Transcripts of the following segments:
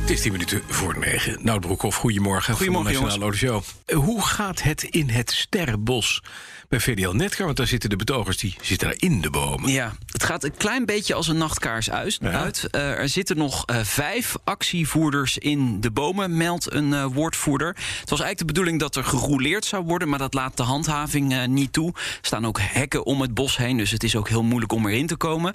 Het is 10 minuten voor 9. Nou, Broekhoff, goedemorgen. Goedemorgen, Van de Nationale Auto Show. Eh, Hoe gaat het in het Sterrenbos bij VDL Netcar? Want daar zitten de betogers, die zitten daar in de bomen. Ja, het gaat een klein beetje als een nachtkaars uit. uit. Eh, er zitten nog eh, vijf actievoerders in de bomen, meldt een eh, woordvoerder. Het was eigenlijk de bedoeling dat er gerouleerd zou worden, maar dat laat de handhaving eh, niet toe. Er staan ook hekken om het bos heen, dus het is ook heel moeilijk om erin te komen.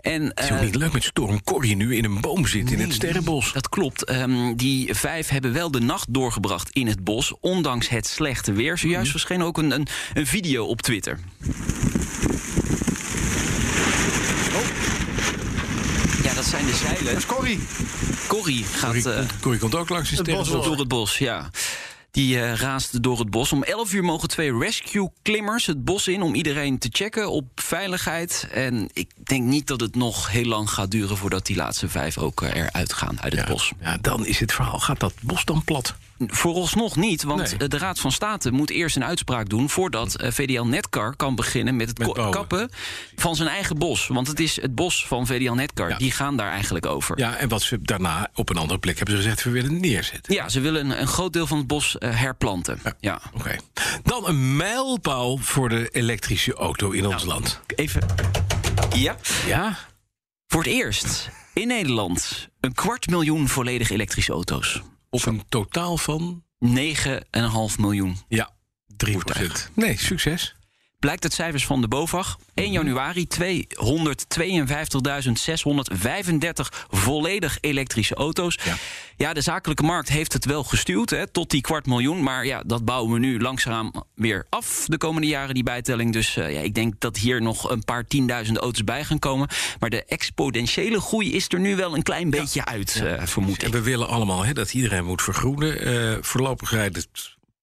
En, Het is ook eh, niet leuk met Storm Corrie nu in een boom zit in het Sterrenbos. Dat klopt. Ehm, die vijf hebben wel de nacht doorgebracht in het bos, ondanks het slechte weer. Zojuist Mhm. verscheen ook een, een, een video op Twitter. Oh. Ja, dat zijn de zeilen. Corrie. Corrie gaat Corrie, eh, komt, Corrie komt ook langs in het bos Sterrenbos. door het bos, ja. Die eh, raast door het bos. Om 11 uur mogen twee rescue-klimmers het bos in om iedereen te checken op veiligheid. En ik denk niet dat het nog heel lang gaat duren voordat die laatste vijf ook eh, eruit gaan uit het bos. Ja, dan is het verhaal. Gaat dat bos dan plat? Vooralsnog niet, want Nee. Mm. eh, de Raad van State moet eerst een uitspraak doen voordat eh, VDL Netcar kan beginnen met het Met ko- bouwen. kappen van zijn eigen bos. Want het is het bos van VDL Netcar. Ja. Die gaan daar eigenlijk over. Ja, en wat ze daarna op een andere plek hebben ze gezegd, we willen het neerzetten. Ja, ze willen een, een groot deel van het bos eh, herplanten. Ja. Oké. Dan een mijlpaal voor de elektrische auto in ons land. Even. Nou, Ja. Ja? Voor het eerst in Nederland een kwart miljoen volledig elektrische auto's. Op een totaal van 9,5 miljoen. Ja, 3 Nee, succes. Blijkt uit cijfers van de BOVAG. 1 januari 252.635 volledig elektrische auto's. Ja. Ja. de zakelijke markt heeft het wel gestuurd hè, tot die kwart miljoen. Maar ja, dat bouwen we nu langzaam weer af de komende jaren, die bijtelling. Dus eh, ja, ik denk dat hier nog een paar tienduizend auto's bij gaan komen. Maar de exponentiële groei is er nu wel een klein beetje uit, eh, vermoed En ik. we willen allemaal hè, dat iedereen moet vergroenen. Eh, voorlopig rijdt het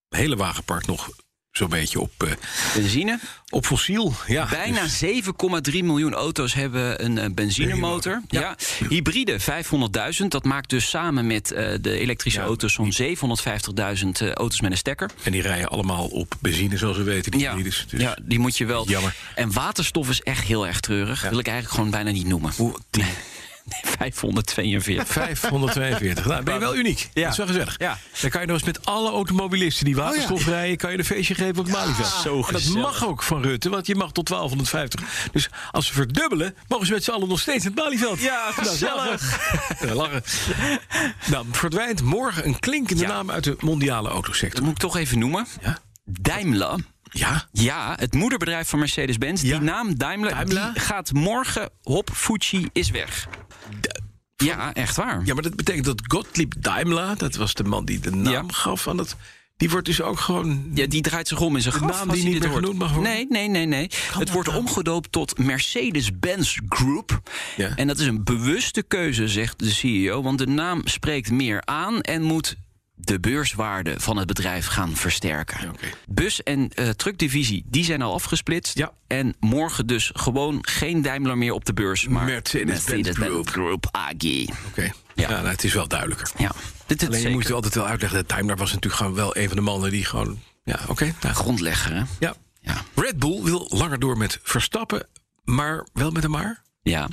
hele wagenpark nog zo'n beetje op, eh, Benzine. op fossiel. Ja, Bijna dus- 7,3 miljoen auto's hebben een eh, benzinemotor. Ja. Hybride 500.000. Dat maakt dus samen met eh, de elektrische Ja, auto's zo'n 750.000 eh, auto's met een stekker. en die rijden allemaal op benzine, zoals we weten. Die Ja. hybrides. Dus ja, die moet je wel. Jammer. En waterstof is echt heel erg treurig. Wil ik eigenlijk gewoon bijna niet noemen. Hoe? 542. 542. Nou, ben je wel uniek. Ja. Dat is wel gezellig. Ja. Oh, Dan kan je nog eens met alle automobilisten die waterstof rijden... kan je een feestje geven op Malieveld. zo En dat gezellig. mag ook van Rutte, want je mag tot 1250. Dus als ze verdubbelen, mogen ze met z'n allen nog steeds naar het Malieveld. Ja, Nou, gezellig. Ja, lachen. Nou, verdwijnt morgen een klinkende Ja. naam uit de mondiale Dat autosector. moet ik toch even noemen. Ja? Daimler. Ja? Ja, het moederbedrijf van Mercedes-Benz. Ja. Die naam Daimler, Daimler? Die gaat morgen. Hop, Fuji is weg. Ja, echt waar. Ja, maar dat betekent dat Gottlieb Daimler, dat was de man die de naam Ja. gaf aan het... Die wordt dus ook gewoon... Ja, die draait zich om in zijn De graf. naam als die hij niet dit meer hoort. genoemd mag worden? nou? Nee, nee, nee, nee. het wordt omgedoopt tot Mercedes-Benz Group. Ja. En dat is een bewuste keuze, zegt de CEO. Want de naam spreekt meer aan en moet de beurswaarde van het bedrijf gaan versterken. Ja, oké. Bus- en eh, truckdivisie, die zijn al afgesplitst. Ja. En morgen dus gewoon geen Daimler meer op de beurs. Maar Mercedes-Benz Group. Group AG. Oké, ja. Ja. nou, het is wel duidelijker. Ja, dit is Alleen je zeker. moet je altijd wel uitleggen dat Daimler was natuurlijk gewoon wel een van de mannen die gewoon... Ja, oké. nou, goed. Grondlegger, hè? ja. Ja. Red Bull wil langer door met Verstappen, maar wel met een maar. Ja.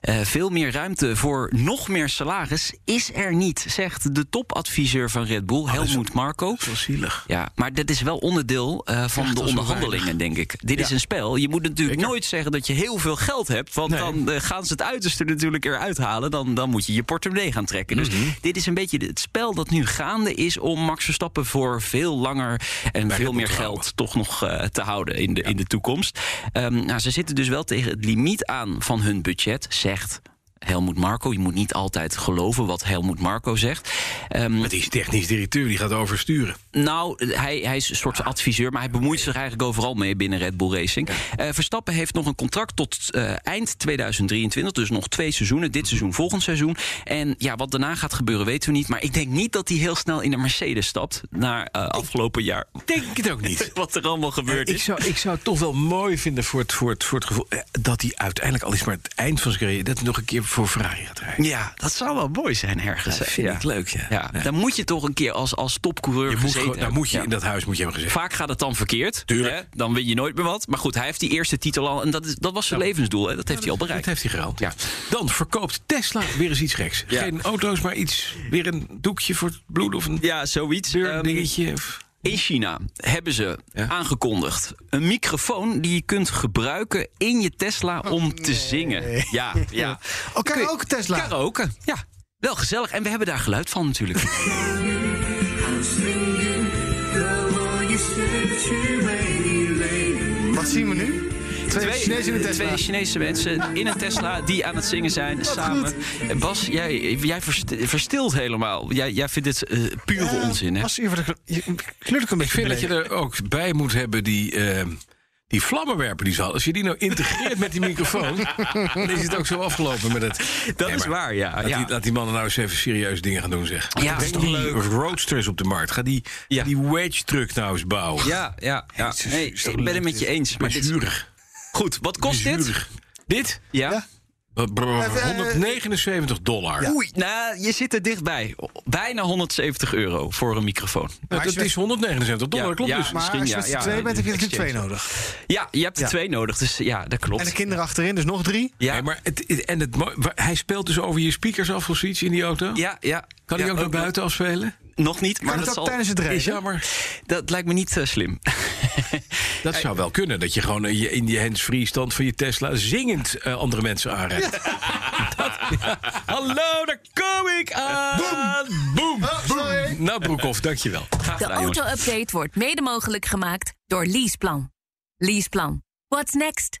Eh, veel meer ruimte voor nog meer salaris is er niet, zegt de topadviseur van Red Bull, Helmoet Marco. Wel zielig. Ja, maar dat is wel onderdeel eh, van Ja, de dat is wel onderhandelingen, denk ik. Dit is een spel. Je moet natuurlijk Zeker. nooit zeggen dat je heel veel geld hebt. Want Nee. dan eh, gaan ze het uiterste natuurlijk eruit halen. Dan, dan moet je je portemonnee gaan trekken. Mhm. Dus dit is een beetje het spel dat nu gaande is om Max Verstappen voor veel langer en Bij Red veel Bull meer te geld houden. toch nog eh, te houden in de, in de toekomst. Ehm, nou, ze zitten dus wel tegen het limiet aan van hun budget, zegt Helmoet Marco. Je moet niet altijd geloven wat Helmoet Marco zegt. Ehm, Maar die is technisch directeur, die gaat oversturen. nou, hij, hij is een soort adviseur, maar hij bemoeit zich eigenlijk overal mee binnen Red Bull Racing. Eh, Verstappen heeft nog een contract tot eh, eind 2023, dus nog twee seizoenen. Dit seizoen, volgend seizoen. En ja, wat daarna gaat gebeuren weten we niet. Maar ik denk niet dat hij heel snel in de Mercedes stapt naar eh, afgelopen jaar. Eh, Denk het ook niet. Wat er allemaal gebeurd Ik is. zou, ik zou het toch wel mooi vinden voor het, voor het, voor het gevoel... eh, dat hij uiteindelijk, al is maar het eind van zijn carrière... dat hij nog een keer voor Ferrari gaat rijden. Ja, dat zou wel mooi zijn ergens. Dat hè? vind Ja. ik leuk, ja. Ja, Ja. dan moet je toch een keer als, als topcoureur Je moet gezeten gewoon, daar hebben. moet je, Ja. In dat huis moet je hebben gezegd. Vaak gaat het dan verkeerd. Tuurlijk. Hè? Dan win je nooit meer wat. Maar goed, hij heeft die eerste titel al. En dat, is, dat was zijn levensdoel. Hè? Dat heeft hij al bereikt. Dat heeft hij gehaald. Ja. Dan verkoopt Tesla weer eens iets geks. Ja. Geen auto's, maar iets. Weer een doekje voor het bloed of een Ja, zoiets. Ehm, deurdingetje. of- in China hebben ze Ja. aangekondigd een microfoon die je kunt gebruiken in je Tesla om te zingen. Ja, ja. Oh, karaoke Tesla. Karaoke, ja. Wel gezellig. En we hebben daar geluid van natuurlijk. Wat zien we nu? Twee, Chinezen in de Tesla. twee Chinese mensen in een Tesla die aan het zingen zijn samen. En Bas, jij, jij verst- verstilt helemaal. Jij, jij vindt dit eh, pure onzin, hè? Was hier voor de gl- je- kleur ik een beetje Ik vind dat je er ook bij moet hebben die, ehm, die vlammenwerper die ze hadden. Als je die nou integreert met die microfoon, dan is het ook zo afgelopen met het. Dat Nee, is maar waar, ja. Laat, ja. Die, laat die mannen nou eens even serieus dingen gaan doen, zeg. Ja, Breng is toch die leuk? roadsters op de markt. Ga die, Ja. die wedge-truck nou eens bouwen. Ja, ja, ja. Jezus, Nee, is dat ik ben het leuk, met je dit. eens. Maar dit is- Bezurig. goed, wat kost dit? Bezurig. Dit? Ja. Eh, brr, Even, eh, 179 dollar. Oei, nou, je zit er dichtbij. Bijna 170 euro voor een microfoon. Nou, dat als je- is 179 dollar, Ja, klopt ja. dus. Maar Misschien, als je ja, met z'n ja, twee bent, heb je natuurlijk exchange. twee nodig. Ja, je hebt er Ja. twee nodig, dus ja, dat klopt. En de kinderen achterin, dus nog drie. ja. Nee, maar het, het- en het, mo- waar- hij speelt dus over je speakers af of zoiets in die auto? ja, ja. Kan hij Ja, eh, ook naar buiten afspelen? Nog niet, maar Kan dat, het ook zal, tijdens het Is rijden? jammer. dat lijkt me niet eh, slim. Dat zou wel kunnen. Dat je gewoon in je, in je hands-free stand van je Tesla zingend eh, andere mensen aanrijdt. Dat- ja. Hallo, daar kom ik aan. Boom. Boom. sorry. Nou, Broekhoff, dankjewel. Graag De gedaan, jongens. auto-update wordt mede mogelijk gemaakt door Leaseplan. Leaseplan. What's next?